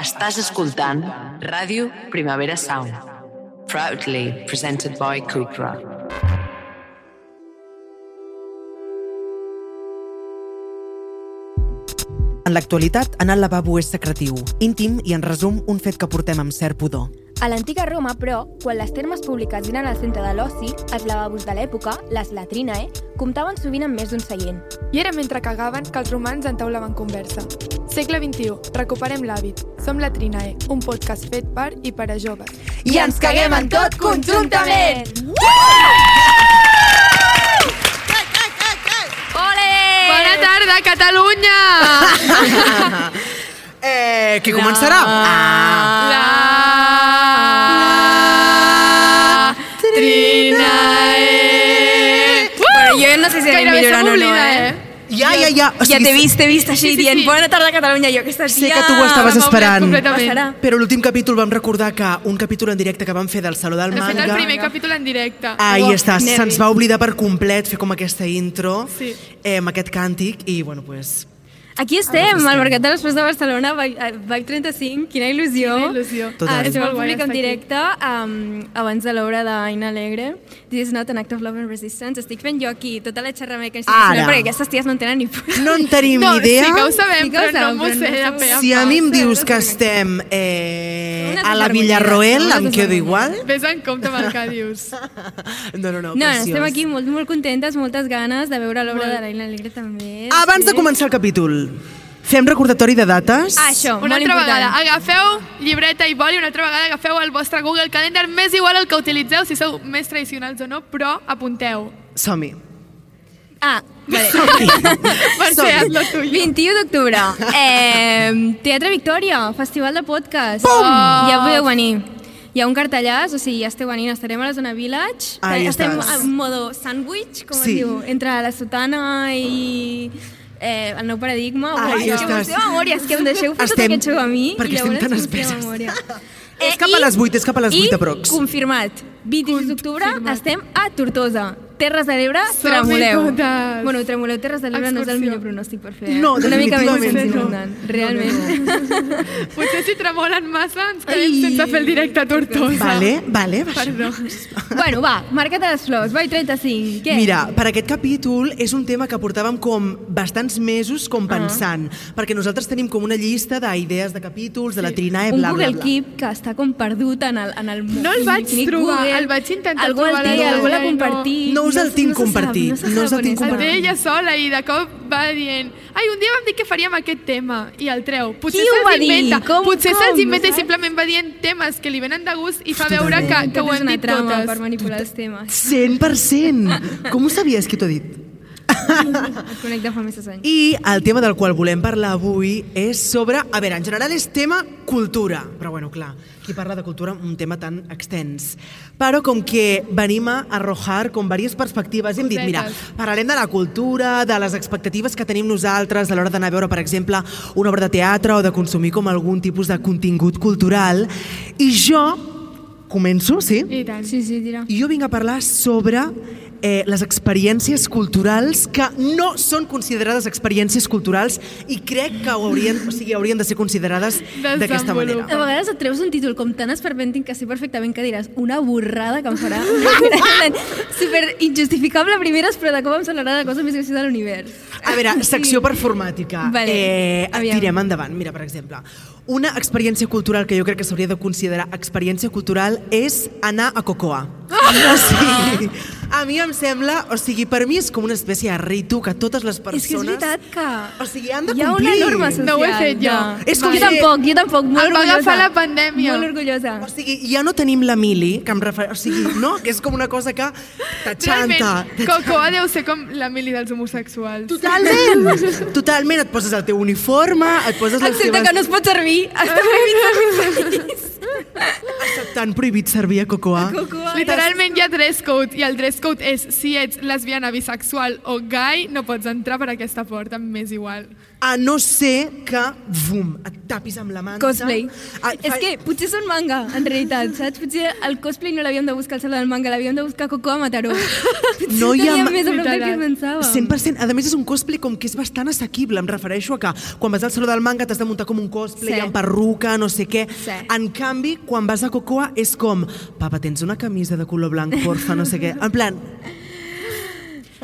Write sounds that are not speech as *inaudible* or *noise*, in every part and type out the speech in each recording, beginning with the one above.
Estàs escoltant Ràdio Primavera Sound. Proudly presented by Coop Rock. En l'actualitat, anar al lavabo és secretiu, íntim i, en resum, un fet que portem amb cert pudor. A l'antiga Roma, però, quan les termes públiques eren al centre de l'oci, els lavabos de l'època, les latrinae, comptaven sovint amb més d'un seient. I era mentre cagaven que els romans entaulaven conversa. Segle XXI, recuperem l'hàbit. Som la Trinae, un podcast fet per i per a joves. I ens caguem en tot conjuntament! Bona tarda, Catalunya! Eh, qui començarà? Ah. La... Trinae! Bueno, jo no sé si anem Gairebé se millorant o no, m'oblida, eh? eh? Ja, ja, ja. O Ja sigui, t'he vist, t'he vist així sí, Sí, sí, sí, dient sí. Bona tarda, Catalunya, jo aquesta Sé tia... que tu ho estaves m'ha obviat esperant. completament. Passarà. Però l'últim capítol vam recordar que un capítol en directe que vam fer del Saló del De fet, Manga... el primer capítol en directe. Ahí Uah, està, nervis. se'ns va oblidar per complet fer com aquesta intro Sí. eh, amb aquest càntic i, bueno, *laughs* pues, Aquí estem, al Mercat de l'Espres de Barcelona, eh, Vibe 35, quina il·lusió. Quina il·lusió. Total. Ah, estem al Molt guai públic en estar aquí. directe um, abans de l'obra d'Aina Alegre. This is not an act of love and resistance. Estic fent jo aquí tota la xerrameca Ara. institucional, perquè aquestes ties no en tenen ni puta. no en tenim No, idea. sí que ho sabem, Sí que ho però no sabem, m'ho però sé no de ho pe a Si a pa. mi em Sí, dius no que sé. estem eh, Una a la desharmonia, Villarroel, una em quedo desharmonia. igual? Ves en compte amb el que dius. No, no, no, No, no, preciós. estem aquí molt, molt contentes, moltes ganes de veure l'obra Molt. de l'Aina Alegre també. Abans de Sí. començar el capítol, fem recordatori de dates. Ah, això, Una molt altra important. vegada, agafeu llibreta i boli, una altra vegada agafeu el vostre Google Calendar, més igual el que utilitzeu, si sou més tradicionals o no, però *laughs* apunteu. Som-hi. Ah, vale. *laughs* Mercè, Som-hi. és lo tuyo. 21 d'octubre, eh, Teatre Victòria, Festival de Podcast. Pum! Ja podeu venir. Hi ha un cartellàs, o sigui, ja esteu venint, estarem a la zona Village. Ahí estem estàs. en modo sandwich, com Sí. es diu, entre la sotana i eh, el nou paradigma. Ahí Uai, estàs. Que m'esteu a memòria, és que em deixeu fer Estem- tot aquest xou a mi. perquè i estem llavors tan m'esteu a espeses. memòria. *laughs* És cap a les vuit, és cap a les vuit, aprox. Eh, I confirmat, 26 d'octubre estem a Tortosa. Terres de l'Ebre, Som tremoleu. picotes. Bueno, tremoleu Terres de l'Ebre no és el Excursió. millor pronòstic per fer. Eh? No, Una mica més definitivament ens no. inundaran, realment. No, no, Potser si tremolen massa ens quedem sense fer el directe a Tortosa. Vale, vale. va, això. *laughs* Perdó. no. *laughs* bueno, va, marca't a les flors, vai 35. Què? Mira, per aquest capítol és un tema que portàvem com bastants mesos Ah. com pensant, perquè nosaltres tenim com una llista d'idees de capítols, de la trinae, eh, un bla, bla, Google bla. Keep que està com perdut en el, en el món. No el vaig Ni trobar, el vaig intentar algú trobar El l'altre té, dia algú l'ha i no- compartit. No us el se- tinc se sap, compartit, se no us sap el on tinc és. El té compartit. ella sola i de cop va dient ai, un dia vam dir que faríem aquest tema i el treu. Potser Qui ho va se'ls dir? inventa. Com- Potser com, se'ls inventa i saps? simplement va dient temes que li venen de gust i fa veure que, Totalment. que ho Tot és hem una dit trama per totes. manipular els temes. *laughs* 100%! Com ho sabies qui t'ho ha dit? Et connecta fa més anys. I el tema del qual volem parlar avui és sobre... A veure, en general és tema cultura, però bueno, clar, qui parla de cultura un tema tan extens. Però com que venim a arrojar com diverses perspectives, hem dit, mira, Cosetes. parlarem de la cultura, de les expectatives que tenim nosaltres a l'hora d'anar a veure, per exemple, una obra de teatre o de consumir com algun tipus de contingut cultural. I jo començo, sí? I tant. Sí, sí, tira. Jo vinc a parlar sobre eh, les experiències culturals que no són considerades experiències culturals i crec que ho haurien, o sigui, haurien de ser considerades d'aquesta manera. A vegades et treus un títol com tan esperpentin que sé perfectament que diràs una borrada que em *laughs* farà En plan, super injustificable a primeres però de cop em semblarà la cosa més graciosa de l'univers A *laughs* veure, secció performàtica. Vale, Eh, aviam. tirem endavant. Mira, per exemple, una experiència cultural que jo crec que s'hauria de considerar experiència cultural és anar a Cocoa. Ah! O sigui, a mi em sembla, o sigui, per mi és com una espècie de ritu que totes les és que és persones... veritat que O sigui, han de hi ha una complir. norma social No ho he fet jo. de- És com jo que- tampoc, jo tampoc molt El va orgullosa. agafar la pandèmia. molt orgullosa O sigui, ja no tenim la mili, que em refer... O sigui, no? Que és com una cosa que t'aixanta. Realment, Cocoa deu ser com la mili dels homosexuals. Totalment! Totalment, et poses el teu uniforme, et poses les excepte teves... que no es pot *laughs* servir està prohibit servir T'han prohibit servir a Cocoa. Cocoa. Literalment hi ha dress code i el dress code és si ets lesbiana, bisexual o gai no pots entrar per aquesta porta, m'és igual. A no ser que, bum, et tapis amb la manta. Cosplay. Ah, és que potser són manga, en realitat, saps? Potser el cosplay no l'havíem de buscar al saló del manga, l'havíem de buscar a Cocoa Mataró. Potser No hi ha teníem ma- més a prop del que Literal. pensàvem. 100%. A més, és un cosplay com que és bastant assequible. Em refereixo a que quan vas al Saló del Manga t'has de muntar com un cosplay Sí. sí. amb perruca, no sé què. Sí. En canvi, quan vas a Cocoa és com, papa, tens una camisa de color blanc, porfa, no sé què. En plan,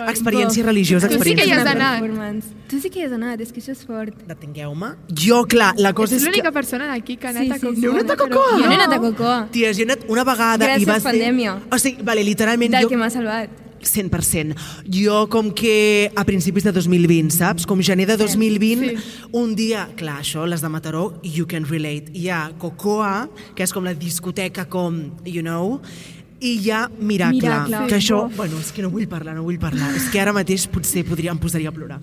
experiència Bo. religiosa, Tu sí experiència. que hi has És una anat. performance. Tu sí que hi has anat, és que això és fort. Detingueu-me. Jo, clar, la Ets cosa és, l'única que... persona d'aquí que ha anat Sí, sí, a Cocoa. No he sí. anat a però- Cocoa? Jo no he anat a No. Cocoa. Tia, jo he anat una vegada Gràcies, i vas pandèmia. dir... O sigui, vale, literalment... Del jo... que m'ha salvat. 100%. Jo, com que a principis de 2020, saps? Com gener de 2020, sí. un dia, clar, això, les de Mataró, you can relate. Hi ha Cocoa, que és com la discoteca, com, you know, i hi ha Miracle, Miracle. que Sí, això... uf. Bueno, és que no vull parlar, no vull parlar. És que ara mateix potser podria, em posaria a plorar.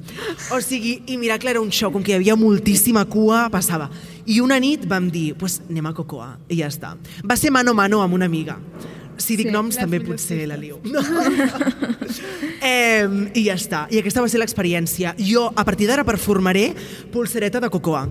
O sigui, i Miracle era un show, com que hi havia moltíssima cua, passava. I una nit vam dir, pues anem a Cocoa, i ja està. Va ser mano a mano amb una amiga. Si dic Sí, sí, noms, les també millors potser la liu. *laughs* Eh, I ja està. I aquesta va ser l'experiència. Jo, a partir d'ara, performaré pulsereta de cocoa.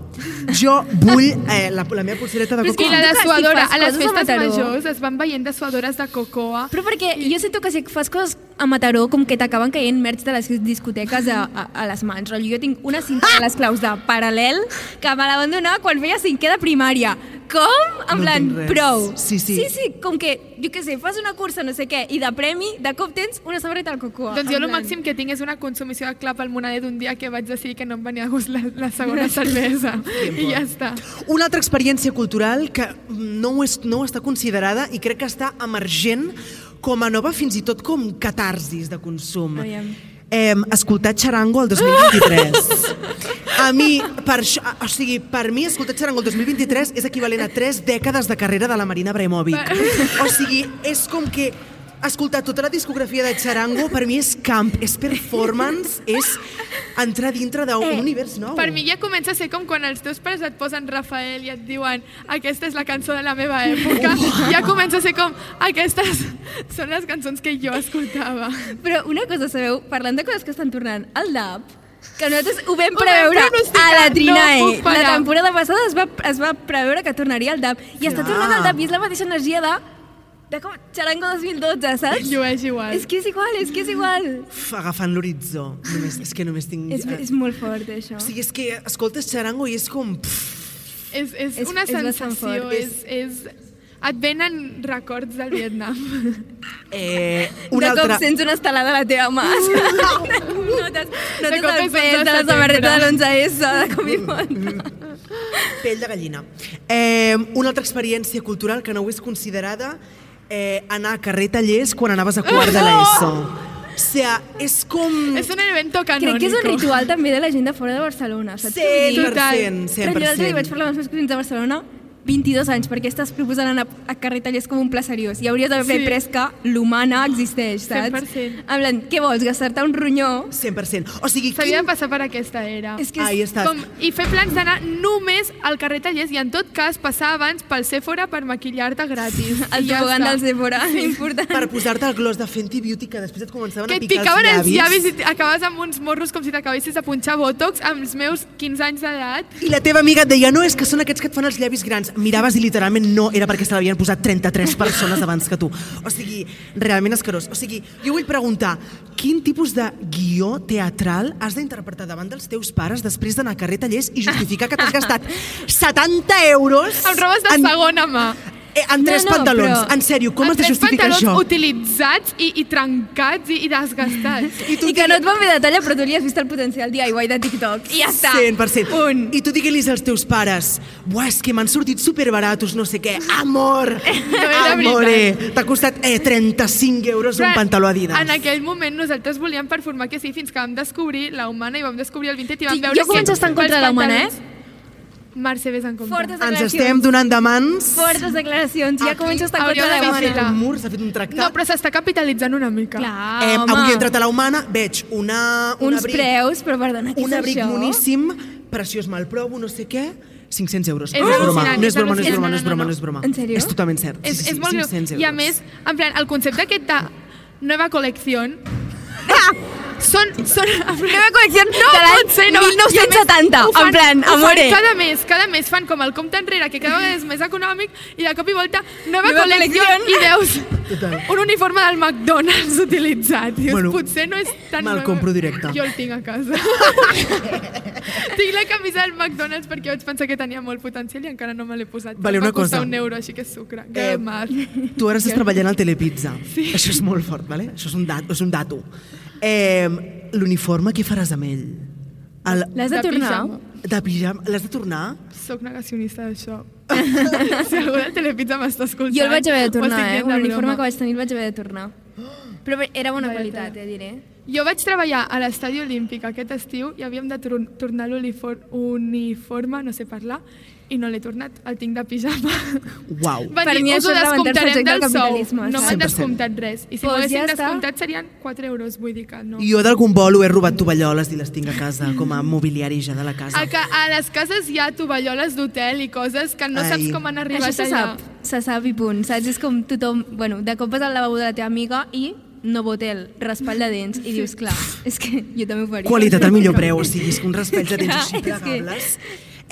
Jo vull eh, la, la meva pulsereta de Però és I Com cocoa. la tu de que si suadora, fas a coses les a festes Mataró. majors es van veient de suadores de cocoa. Però perquè jo sento que si fas coses a Mataró com que t'acaben caient merch de les discoteques a, a, a les mans. Rotllo, jo tinc una cinta de les claus de paral·lel que me la van donar quan feia cinquè de primària. Com? En No plan, entenc res. prou. Sí, sí. Sí, sí, com que, jo què sé, fas una cursa, no sé què, i de premi, de cop tens una sabreta al cocoa. Doncs jo En el plan, màxim que tinc és una consumició de clap al monader d'un dia que vaig decidir que no em venia a gust la, la segona cervesa. I ja està. Una altra experiència cultural que no, ho és, no ho està considerada i crec que està emergent com a nova, fins i tot com catarsis de consum. Aviam. Eh, escoltar Charango el 2023. A mi, per, això, o sigui, per mi, escoltar Charango el 2023 és equivalent a tres dècades de carrera de la Marina Bremovic. O sigui, és com que escoltar tota la discografia de Charango per mi és camp, és performance, és entrar dintre d'un eh, univers nou. Oh. Per mi ja comença a ser com quan els teus pares et posen Rafael i et diuen aquesta és la cançó de la meva època. Oh. Ja comença a ser com aquestes són les cançons que jo escoltava. Però una cosa, sabeu, parlant de coses que estan tornant al DAP, que nosaltres ho vam Ho vam preveure pronosticar, a la no Trinae. puc la parar. temporada passada es va, es va preveure que tornaria al DAP. I està Clar. tornant al DAP i és la mateixa energia de, de com Charango 2012, saps? Llueix igual. És que és igual, és que és igual. Uf, agafant l'horitzó. Només, és que només tinc... És, és molt fort, això. O sigui, és que escoltes Charango i és com... Pff, És, és, És- és una és bastant sensació, fort. és, és, et venen records del Vietnam. Mm. eh, de una cop altra... sents una estelada a la teva mà. *laughs* no t'has no Uh! De t'has cop el és pes de 11 la de samarreta de setembre. l'11S, de com i *laughs* font. Pell de gallina. Eh, una altra experiència cultural que no ho és considerada eh, anar a carrer tallers quan anaves a quart de l'ESO. O sea, és com... és un evento canònico. Crec que és un ritual també de la gent de fora de Barcelona, saps? què vull 100%, dir? Total. 100%. Però jo l'altre dia vaig parlar amb els meus cosins de Barcelona, 22 anys, perquè estàs proposant anar a carrer Tallers com un pla seriós. I hauries d'haver Sí. sí. pres que l'humana existeix, saps? 100%. En plan, què vols, gastar-te un ronyó? 100%. O sigui, S'havia quin... de passar per aquesta era. És que és Ahí estàs. Com, I fer plans d'anar només al carrer Tallers i en tot cas passar abans pel Sephora per maquillar-te gratis. *laughs* el I ja tobogan està. del Sephora, *laughs* important. Per posar-te el gloss de Fenty Beauty que després et començaven a que et picar picaven els llavis i i... t- acabaves amb uns morros com si t'acabessis de punxar botox amb els meus 15 anys d'edat. I la teva amiga et deia, no, és que són aquests que et fan els llavis grans. Miraves i literalment no era perquè se l'havien posat 33 persones abans que tu. O sigui, realment escarós. O sigui, jo vull preguntar, quin tipus de guió teatral has d'interpretar davant dels teus pares després d'anar a carrer Tallers i justificar que t'has gastat 70 euros Amb robes de en, segona mà. eh, en tres No, no, pantalons? però- En sèrio, com Amb has de tres justificar pantalons això? utilitzats i, i trencats i, *laughs* i desgastats. I, que no et van bé de talla, però tu li has vist el potencial DIY de TikTok. I ja està. 100%. Un. I tu digui-lis als teus pares, buah, és que m'han sortit superbaratos, no sé què, amor, era amore, t'ha costat eh, 35 euros un Però pantaló Adidas. En aquell moment nosaltres volíem performar que sí, fins que vam descobrir la humana i vam descobrir el Vintet i vam Sí, veure jo començo a estar en pels contra de la humana, eh? pantalons- Mercè, vés en compte. Fortes Ens declaracions. estem donant de mans. Fortes declaracions. Ja Aquí començo a estar hauria contra la d'haver humana. fet la- Un mur, s'ha fet un tractat. No, però s'està capitalitzant una mica. Clar, eh, Ah, home. avui he entrat a la humana, veig una, un Uns abric, preus, però perdona, què un és abric això? moníssim, preciós, me'l provo, no sé què, 500 euros. És no, és broma, al·lucinant, no és és broma, no és broma, no al·lucinant. és No, no, broma, no, no és broma. En sèrio? És totalment cert. És, sí, sí, és molt 500 greu. euros. I a més, en plan, el concepte aquest de *laughs* nova col·lecció... són, són, en plan, Meva col·lecció no, de l'any pot ser, no. 1970, I a més, ho en plan, ho amore. Fan cada mes, cada mes fan com el compte enrere, que cada vegada és més econòmic, i de cop i volta, nova, Nova col·lecció, col·lecció. i veus Total. un uniforme del McDonald's utilitzat. Dius, Bueno, bueno, potser no és tan... me'l nova. compro directe. Jo el tinc *laughs* a casa. tinc la camisa del McDonald's perquè vaig pensar que tenia molt potencial i encara no me l'he posat. Vale, Em una va costar cosa. un euro, així que és sucre. Eh, Eh, mal. Tu ara estàs treballant al Telepizza. Sí. Això és molt fort, vale? Això és un, dat, és un dato. Eh, L'uniforme, què faràs amb ell? El, L'has de De tornar? pijama. de pijama, l'has de tornar? Soc negacionista d'això. *laughs* si algú de Telepizza m'està escoltant... Jo el vaig haver de ho tornar, eh? estic dient de L'uniforme broma. que vaig tenir el vaig haver de tornar. Però bé, era bona qualitat, eh, diré. Jo vaig treballar a l'estadi olímpic aquest estiu i havíem de tor tornar l'uniforme, no sé parlar, i no l'he tornat, el tinc de *laughs* pijama. Uau. Van Per dir, mi us això ho és lamentar-se descomptarem objecte del del sou. capitalisme, No m'han 100%. descomptat res. I Doncs si m'ho ja haguessin està. descomptat serien 4 euros, vull dir que no. Jo d'algun bolo he robat tovalloles i les tinc a casa, com a mobiliari ja de la casa. A, ca a les cases hi ha tovalloles d'hotel i coses que no Ai. saps com han Això arribat se allà. sap, se sap i punt. Saps? És com tothom... Bueno, de cop vas al lavabo de la teva amiga i no botel, raspall de dents. I dius, clar, és que jo també ho faria. Qualitat al millor preu, o sigui, és que un raspall de tens així *laughs* És que- plegables.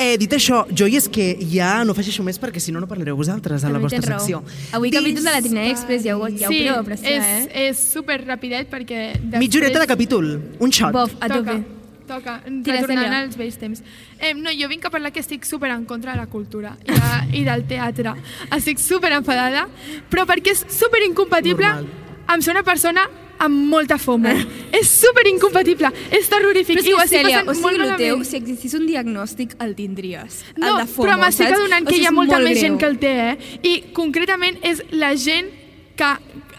Eh, dit això, jo i és que ja no faig això més perquè si no no parlareu vosaltres a la També vostra tens raó. secció. Avui capítol de la Trinea Express, ja ho, ja ho sí, podeu apreciar, és, eh? és super rapidet perquè... Mitja horeta de capítol, un shot. Bof, a toca, tope. Toca, Tira, retornant Celia. als vells temps. Eh, no, jo vinc a parlar que estic super en contra de la cultura i, de, i del teatre. Estic super enfadada, però perquè és super incompatible Normal. amb ser una persona amb molta foma. és super incompatible, és terrorífic. Eh. Però és i ho que, estic Cèlia, passant o sigui, molt el teu, malament. si existís un diagnòstic, el tindries. No, el de FOMO, però m'estic saps? adonant O que sigui, hi ha és molta molt més greu. gent que el té, eh? I concretament és la gent que,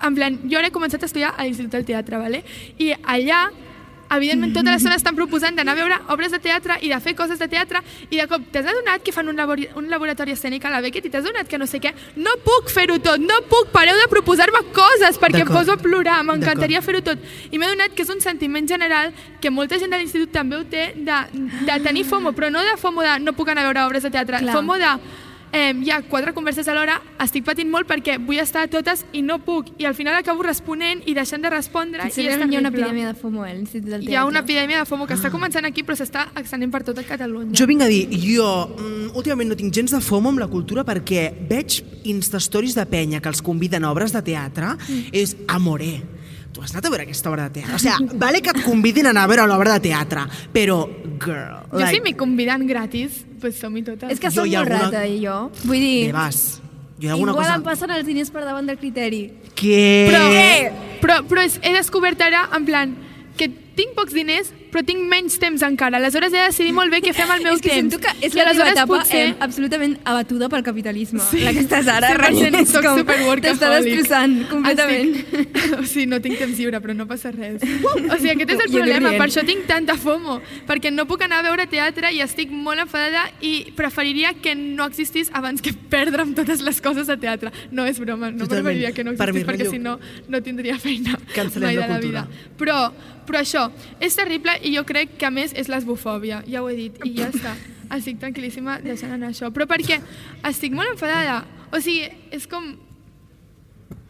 en plan, jo ara he començat a estudiar a l'Institut del Teatre, ¿vale? i allà evidentment tota Mm-hmm. l'estona estan proposant d'anar a veure obres de teatre i de fer coses de teatre i de cop t'has adonat que fan un, labori un laboratori escènic a la Beckett i t'has adonat que no sé què no puc fer-ho tot, no puc, pareu de proposar-me coses perquè em D'acord. poso a plorar m'encantaria D'acord. fer-ho tot i m'he adonat que és un sentiment general que molta gent de l'institut també ho té de, de tenir FOMO, però no de FOMO de no puc anar a veure obres de teatre, Clar. Clar. FOMO de eh, hi ha quatre converses a l'hora, estic patint molt perquè vull estar a totes i no puc i al final acabo responent i deixant de respondre Potser i és hi ha una terrible. epidèmia de FOMO, eh? a l'Institut del Teatre. Ah. Hi ha una epidèmia de FOMO que està començant aquí però s'està extenent per tota Catalunya. Jo vinc a dir, jo mm, últimament no tinc gens de fomo amb la cultura perquè veig instastories de penya que els conviden a obres de teatre mm. és amoré. Tu has anat a veure aquesta obra de teatre. O sigui, vale que et convidin a anar a veure l'obra de teatre, però, girl... Jo si m'hi conviden gratis, pues som-hi totes. És que Jo soc hi ha molt alguna- rata, i jo. Vull dir, Bé, vas. Jo hi ha alguna igual cosa... em passen els diners per davant del criteri. Que... Però, Eh, eh, però, però és, he descobert ara, en plan, que tinc pocs diners, però tinc menys temps encara. Aleshores he de decidir molt bé què fem al meu *laughs* és que temps. sento que és la I teva aleshores etapa *laughs* potser- eh, absolutament abatuda pel capitalisme. Sí. La que estàs ara, 100% realment, és soc com... superworkaholic. T'està destrossant completament. Estic... *laughs* O sigui, no tinc temps lliure, però no passa res. O sigui, aquest *laughs* és el Jo no problema, rient. per això tinc tanta FOMO, perquè no puc anar a veure teatre i estic molt enfadada i preferiria que no existís abans que perdre'm totes les coses de teatre. No és broma, no Totalment. preferiria que no Per mi, existís, perquè rotllo- si no, no tindria feina Cancel·lem mai la de la cultura. vida. Però, però això, és terrible i jo crec que a més és l'esbofòbia, ja ho he dit, i ja està. Estic tranquil·líssima deixant anar això. Però perquè estic molt enfadada. O sigui, és com...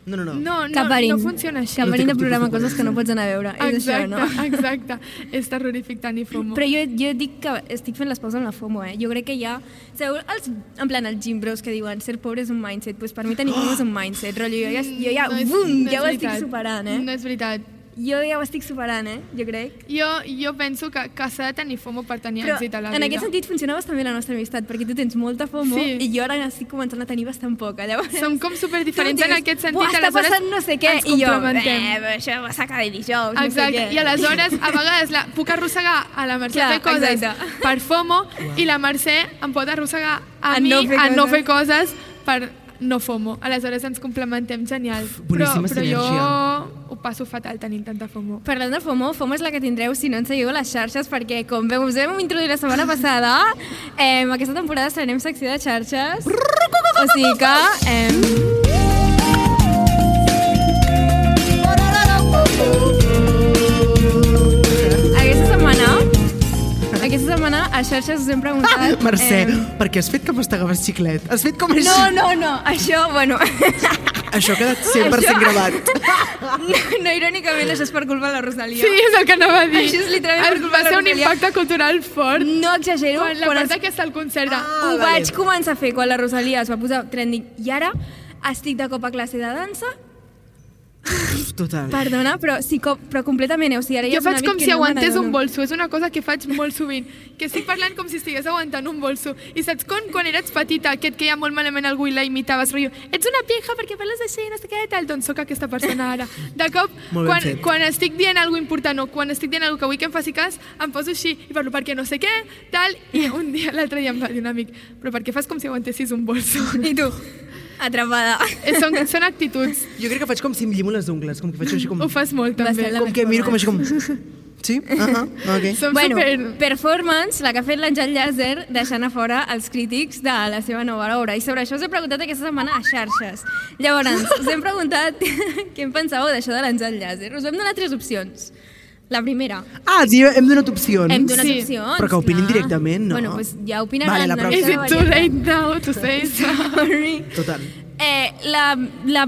No, no, no. No, no, Cap verín. no funciona així. Cap verín de No té cap tipus de programa coses que coherència. no pots anar a veure. Exacte, és això, no? *laughs* exacte. És terrorífic tenir FOMO. Però jo, jo dic que estic fent les paus amb la FOMO, eh? Jo crec que ja... Sabeu, els, en plan, els gimbros que diuen ser pobre és un mindset, doncs per mi *gasps* tenir FOMO és un mindset, rotllo, jo ja, jo ja, No és- bum, no ja és ho estic veritat. superant, eh? No és veritat. Jo ja ho estic superant, eh? Jo crec. Jo, jo penso que, que s'ha de tenir FOMO per tenir Però èxit a la vida. en aquest sentit funcionava bastant bé la nostra amistat, perquè tu tens molta FOMO Sí. i jo ara estic començant a tenir bastant poca. Llavors, Som com superdiferents tu em en dius, aquest sentit, "Buah, està aleshores passant no sé què, ens i jo, complementem. eh, però això va sacar de dijous, no sé Exacte, què. i aleshores a vegades la, puc arrossegar a la Mercè Clar, a fer coses exacte. per FOMO i la Mercè em pot arrossegar a, A mi no fer a no coses. fer coses per no FOMO. Aleshores ens complementem genial. boníssima però, però sinergia. jo ho passo fatal tenint tanta FOMO. Parlant de FOMO, FOMO és la que tindreu si no ens seguiu a les xarxes perquè, com veu, us vam introduir la setmana passada, eh, aquesta temporada estrenem secció de xarxes. O sigui que... Eh, aquesta setmana aquesta setmana a xarxes us hem Ah, preguntat... *laughs* Mercè, eh... em, per què has fet que m'estagava xiclet? Has fet com així? No, no, no, això, bueno... *laughs* Això ha quedat 100% Això- gravat. No, no, irònicament, això és per culpa de la Rosalia. Sí, és el que anava a dir. Això és literalment per Em culpa Va de ser un Rosalia. impacte cultural fort. No exagero, Quan la quan part es aquesta al concert de... Ah. ho valent. vaig començar a fer quan la Rosalia es va posar trending i ara estic de cop a classe de dansa Total. perdona, però, sí, com, però completament eh? o sigui, ara ja és Jo un faig hàbit com que si no me aguantés un n'adono. bolso, és una cosa que faig molt sovint, que estic parlant com si estigués aguantant un bolso. I saps com quan eres petita, que et queia molt malament algú i la imitaves, rotllo, ets una pija perquè parles així, no sé què, tal, doncs sóc aquesta persona ara. De cop, *laughs* Molt ben quan, fet. quan estic dient alguna important o quan estic dient alguna que vull que em faci cas, em poso així i parlo perquè no sé què, tal, i un dia, l'altre dia em va dir un amic, però per què fas com si aguantessis un bolso? *laughs* i tu, atrapada Eh, Són, són actituds, Jo crec que faig com si em llimo les ungles, com que faig així com... ho fas molt també. Bastant la- Com que miro com així com... Sí? Ah, ah, *laughs* ok. Som bueno, super... performance, la que ha fet l'Àngel Llàser deixant a fora els crítics de la seva nova obra i sobre això us he preguntat aquesta setmana a xarxes llavors, us hem preguntat *laughs* què en pensàveu d'això de l'Àngel Llàser us vam donar tres opcions la primera, Ah, sí, hem donat opcions. hem donat Sí. opcions Però que opinin clar. directament, no? bueno, pues ja opinaran Vale, la una pròxima. Is mica it too variada. late now to say so? Sorry. Total. Eh, la, la,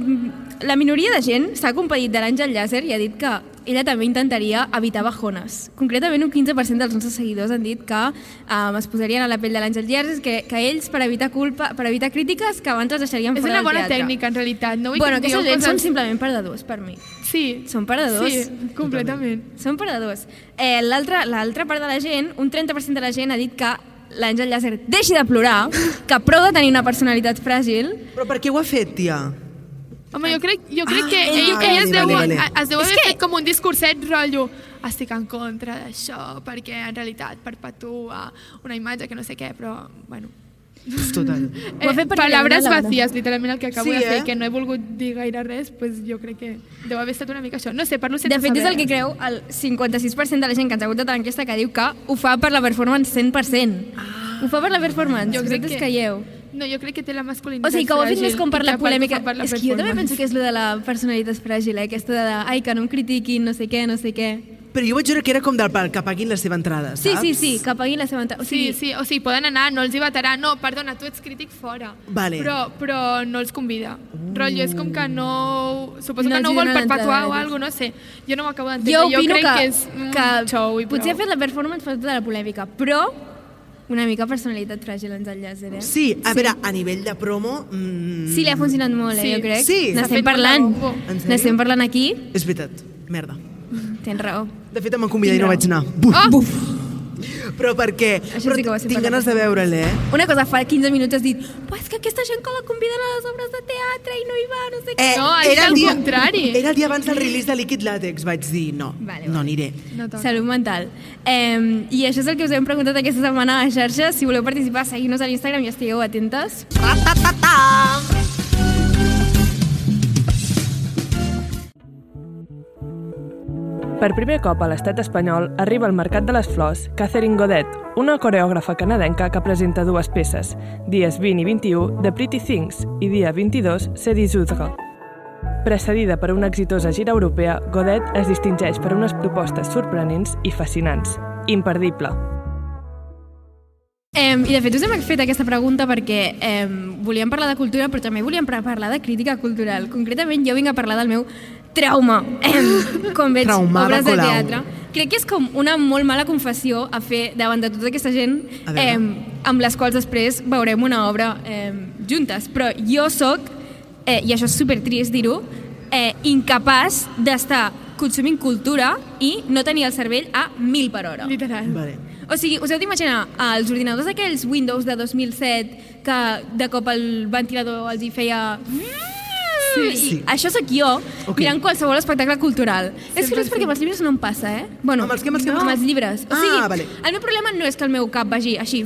la minoria de gent s'ha compadit de l'Àngel Llàser i ha dit que ella també intentaria evitar bajones. Concretament, un 15% dels nostres seguidors han dit que eh, es posarien a la pell de l'Àngel Llàser, que, que ells, per evitar culpa, per evitar crítiques, que abans els deixarien És fora una del bona teatre. tècnica, en realitat. No vull bueno, que em aquesta digueu gent són coses... simplement perdedors, per mi. Sí. Són perdedors. Sí, completament. Són perdedors. Eh, L'altra l'altra part de la gent, un 30% de la gent ha dit que l'Àngel Llàser deixi de plorar, que prou de tenir una personalitat fràgil Però per què ho ha fet, tia? Home, jo crec, jo crec Ah, vale, que ell, vale, ell es deu, vale, vale. a- es deu És haver que- fet com un discurset rotllo estic en contra d'això perquè en realitat perpetua una imatge que no sé què, però bueno. Eh, Total. Ho ha fet perquè palabres li agrada. vacies, literalment el que acabo Sí, de fer, eh? que no he volgut dir gaire res, doncs jo crec que deu haver estat una mica això. No sé, parlo sense De fet, és saber. el que creu el 56% de la gent que ens ha votat a l'enquesta que diu que ho fa per la performance 100%. ho fa per la performance, Jo crec vosaltres que- creieu. No, jo crec que té la masculinitat O sigui, que ho ha fet fràgil més com per i la que polèmica. fa per la És que jo també performance. penso que és lo de la personalitat fràgil, eh? aquesta de, ai, que no em critiquin, no sé què, no sé què. Però jo vaig veure que era com del pal, que paguin la seva entrada, Sí, saps? sí, sí, que paguin la seva entrada. O sigui, Sí, sí, o sigui, poden anar, no els hi vetarà, no, perdona, tu ets crític fora, Vale. però, però no els convida. Uh. Rotllo, és com que no... Suposo No que els no hi vol donen perpetuar entrades. o alguna no sé. Jo no m'acabo d'entendre, jo jo, opino crec que, que, és un xou i potser ha prou. fet la performance per tota la polèmica, però una mica personalitat fràgil ens enllaça, eh? Sí, a sí. veure, a nivell de promo... Mm, Sí, li ha funcionat molt, eh, Sí. jo crec. Sí. S'ha N'estem fet molt de parlant. bombo. En sèrio? N'estem parlant aquí. És veritat, merda. Tens raó. Oh, De fet, em van convidar i no Tindrà. vaig anar. Buf, Ah! buf. Però per què? Això Però sí que va ser tinc per ganes de veure-la, eh? Una cosa, fa 15 minuts has dit "Buah, és que aquesta gent que la conviden a les obres de teatre i no hi va, no sé què. Eh, No, és era el al dia- contrari. Era el dia abans del release de Liquid Latex, vaig dir, no, Vale, no vale. aniré. No toca. Salut mental. Eh, I això és el que us hem preguntat aquesta setmana a xarxes. Si voleu participar, seguiu-nos a l'Instagram i estigueu atentes. Per primer cop a l'estat espanyol arriba al Mercat de les Flors Catherine Godet, una coreògrafa canadenca que presenta dues peces, dies 20 i 21 de Pretty Things i dia 22 C'est des Oudres. Precedida per una exitosa gira europea, Godet es distingeix per unes propostes sorprenents i fascinants. Imperdible. Eh, I de fet us hem fet aquesta pregunta perquè eh, volíem parlar de cultura però també volíem pre- parlar de crítica cultural. Concretament jo vinc a parlar del meu trauma *gasps* eh, quan veig Traumada obres de Colau. teatre. Crec que és com una molt mala confessió a fer davant de tota aquesta gent A veure. eh, amb les quals després veurem una obra eh, juntes. Però jo sóc, eh, i això és supertrist dir-ho, eh, incapaç d'estar consumint cultura i no tenir el cervell a mil per hora. Literal. Vale. O sigui, us heu d'imaginar eh, els ordinadors aquells Windows de 2007 que de cop el ventilador els hi feia... Sí, Sí. Això sóc jo, Ok. mirant qualsevol espectacle cultural. és curiós perquè amb els llibres no em passa, eh? Bueno, Amb els què, amb els què, amb els amb què? els llibres. Ah, o sigui, vale. el meu problema no és que el meu cap vagi així,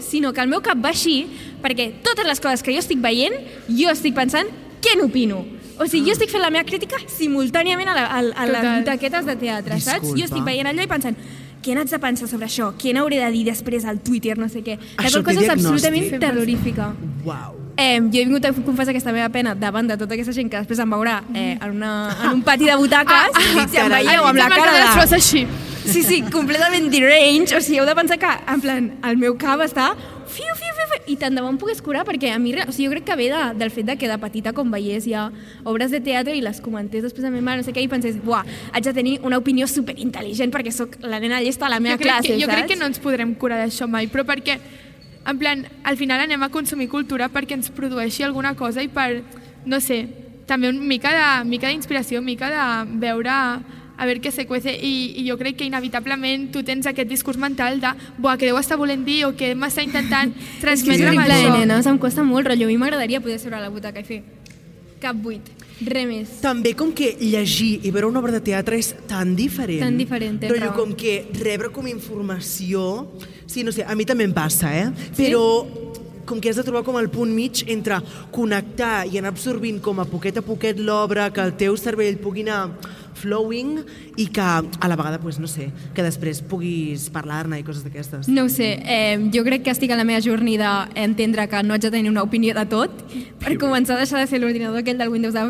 sinó que el meu cap va així perquè totes les coses que jo estic veient, jo estic pensant què n'opino. O sigui, Ah. jo estic fent la meva crítica simultàniament a, la, a, a les Total. butaquetes de teatre, saps? Jo Disculpa. estic veient allò i pensant què n'haig de pensar sobre això? Què n'hauré de dir després al Twitter? No sé què. La Això té qual cosa és diagnòstic. absolutament terrorífica. Uau. Eh, jo he vingut a confessar aquesta meva pena davant de tota aquesta gent que després em veurà eh, en, una, en un pati de butaques ah, ah, si em carai. veieu amb la Em va cara quedar les de... flors així. Sí, sí, completament deranged. O sigui, heu de pensar que, en plan, el meu cap està... Fiu, fiu, fiu, fiu, i tant de bo em pogués curar, perquè a mi... re- O sigui, jo crec que ve de, del fet de que de petita, com veiés ja obres de teatre i les comentés després a mi mare, no sé què, i pensés, buah, haig de tenir una opinió superintel·ligent perquè sóc la nena llesta a la meva jo crec classe, que, jo saps? crec que no ens podrem curar d'això mai, però perquè, en plan, al final anem a consumir cultura perquè ens produeixi alguna cosa i per, no sé, també una mica de- mica d'inspiració, mica de veure a veure què se cuece I, i jo crec que inevitablement tu tens aquest discurs mental de buah, què deu estar volent dir o què m'està *laughs* intentant És que és transmetre amb horrible, eh, això. nenes, em costa molt, rotllo. A mi m'agradaria poder seure a la butaca i fer cap buit, res més. També com que llegir i veure una obra de teatre és tan diferent. Tan diferent, tens Però raó. com que rebre com informació... Sí, no sé, a mi també em passa, eh? Però com que has de trobar com el punt mig entre connectar i anar absorbint com a poquet a poquet l'obra, que el teu cervell pugui anar flowing i que a la vegada, pues, no sé, que després puguis parlar-ne i coses d'aquestes. No ho sé, eh, jo crec que estic a la meva jornada d'entendre que no haig de tenir una opinió de tot per començar a deixar de ser l'ordinador aquell del Windows de...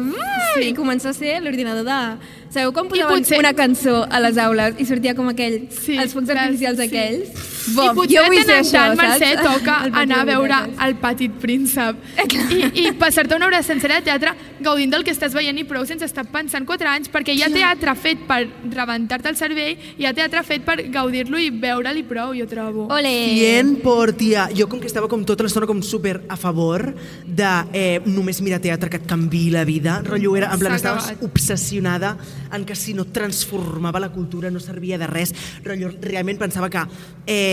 Sí. i començar a ser l'ordinador de... Sabeu com posaven potser- potser... una cançó a les aules i sortia com aquell, Sí, sí, els focs les- artificials sí. aquells? I Bob, potser jo vull de tant ser en això, tant, Mercè, saps? *laughs* toca Al pati anar a de veure biblioteques. el petit príncep Eh, i, i passar-te una hora sencera de teatre gaudint del que estàs veient i prou sense estar pensant 4 anys perquè hi ha teatre fet per rebentar-te el cervell i hi ha teatre fet per gaudir-lo i veure'l i prou, jo trobo. Ole! 100 por, tia. Jo com que estava com tota l'estona com super a favor de eh, només mirar teatre que et canvi la vida, rotllo era, en plan, S'ha estaves acabat. obsessionada en que si no et transformava la cultura no servia de res, rotllo realment pensava que eh,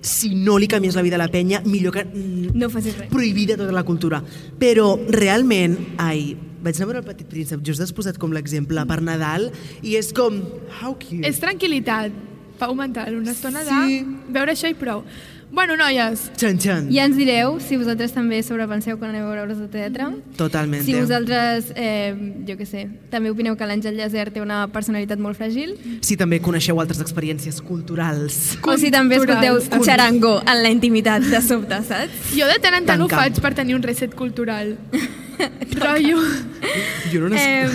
si no li canvies la vida a la penya, millor que mm, No facis res. prohibida tota la cultura. Però realment, ai, vaig anar a veure el Petit Príncep, just has posat com l'exemple per Nadal, i és com, how cute. És tranquil·litat, pau mental, una estona Sí. de veure això i prou. Bueno, noies, Txan, txan. Ja ens direu si vosaltres també sobrepenseu quan aneu a veure obres de teatre. Totalment. Si vosaltres, eh, jo què sé, també opineu que l'Àngel Llacer té una personalitat molt fràgil. si també coneixeu altres experiències culturals. O si també escolteu Culturals. xarango en la intimitat, de sobte, saps? jo de tant en tant ho Tancam. faig per tenir un reset cultural. *laughs* Rotllo. Jo no Eh,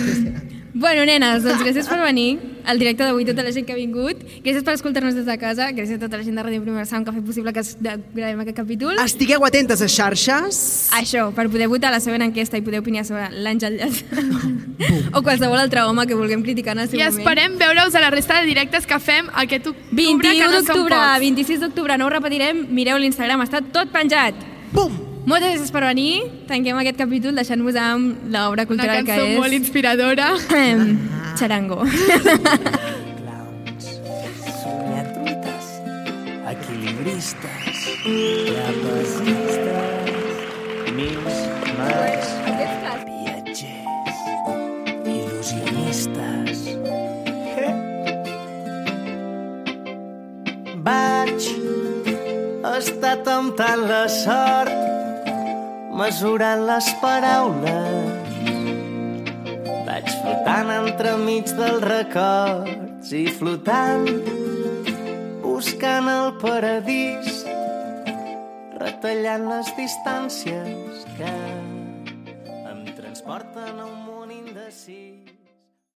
bueno, nenes, doncs gràcies per venir al directe d'avui, tota la gent que ha vingut. Gràcies per escoltar-nos des de casa. Gràcies a tota la gent de Ràdio Primera Sound que ha fet possible que es- de- gravem aquest capítol. Estigueu atentes a xarxes. Això, per poder votar la següent enquesta i poder opinar sobre l'Àngel Llacer. *laughs* o qualsevol altre home que vulguem criticar en el seu I moment. esperem veure-us a la resta de directes que fem aquest octubre, que 21 no són d'octubre, pocs. 26 d'octubre, no ho repetirem, mireu l'Instagram, està tot penjat. Bum! Moltes gràcies per venir, tanquem aquest capítol deixant-vos amb l'obra Una cultural que cançó és... molt inspiradora. Ehm, Charango. clowns, somiatruites, equilibristes, trapecistes, mims, mans, viatgers, il·lusionistes. Vaig estar temptant la sort, mesurant les paraules, vaig flotant entremig dels records i flotant, buscant el paradís, retallant les distàncies que em transporten a un món indecís.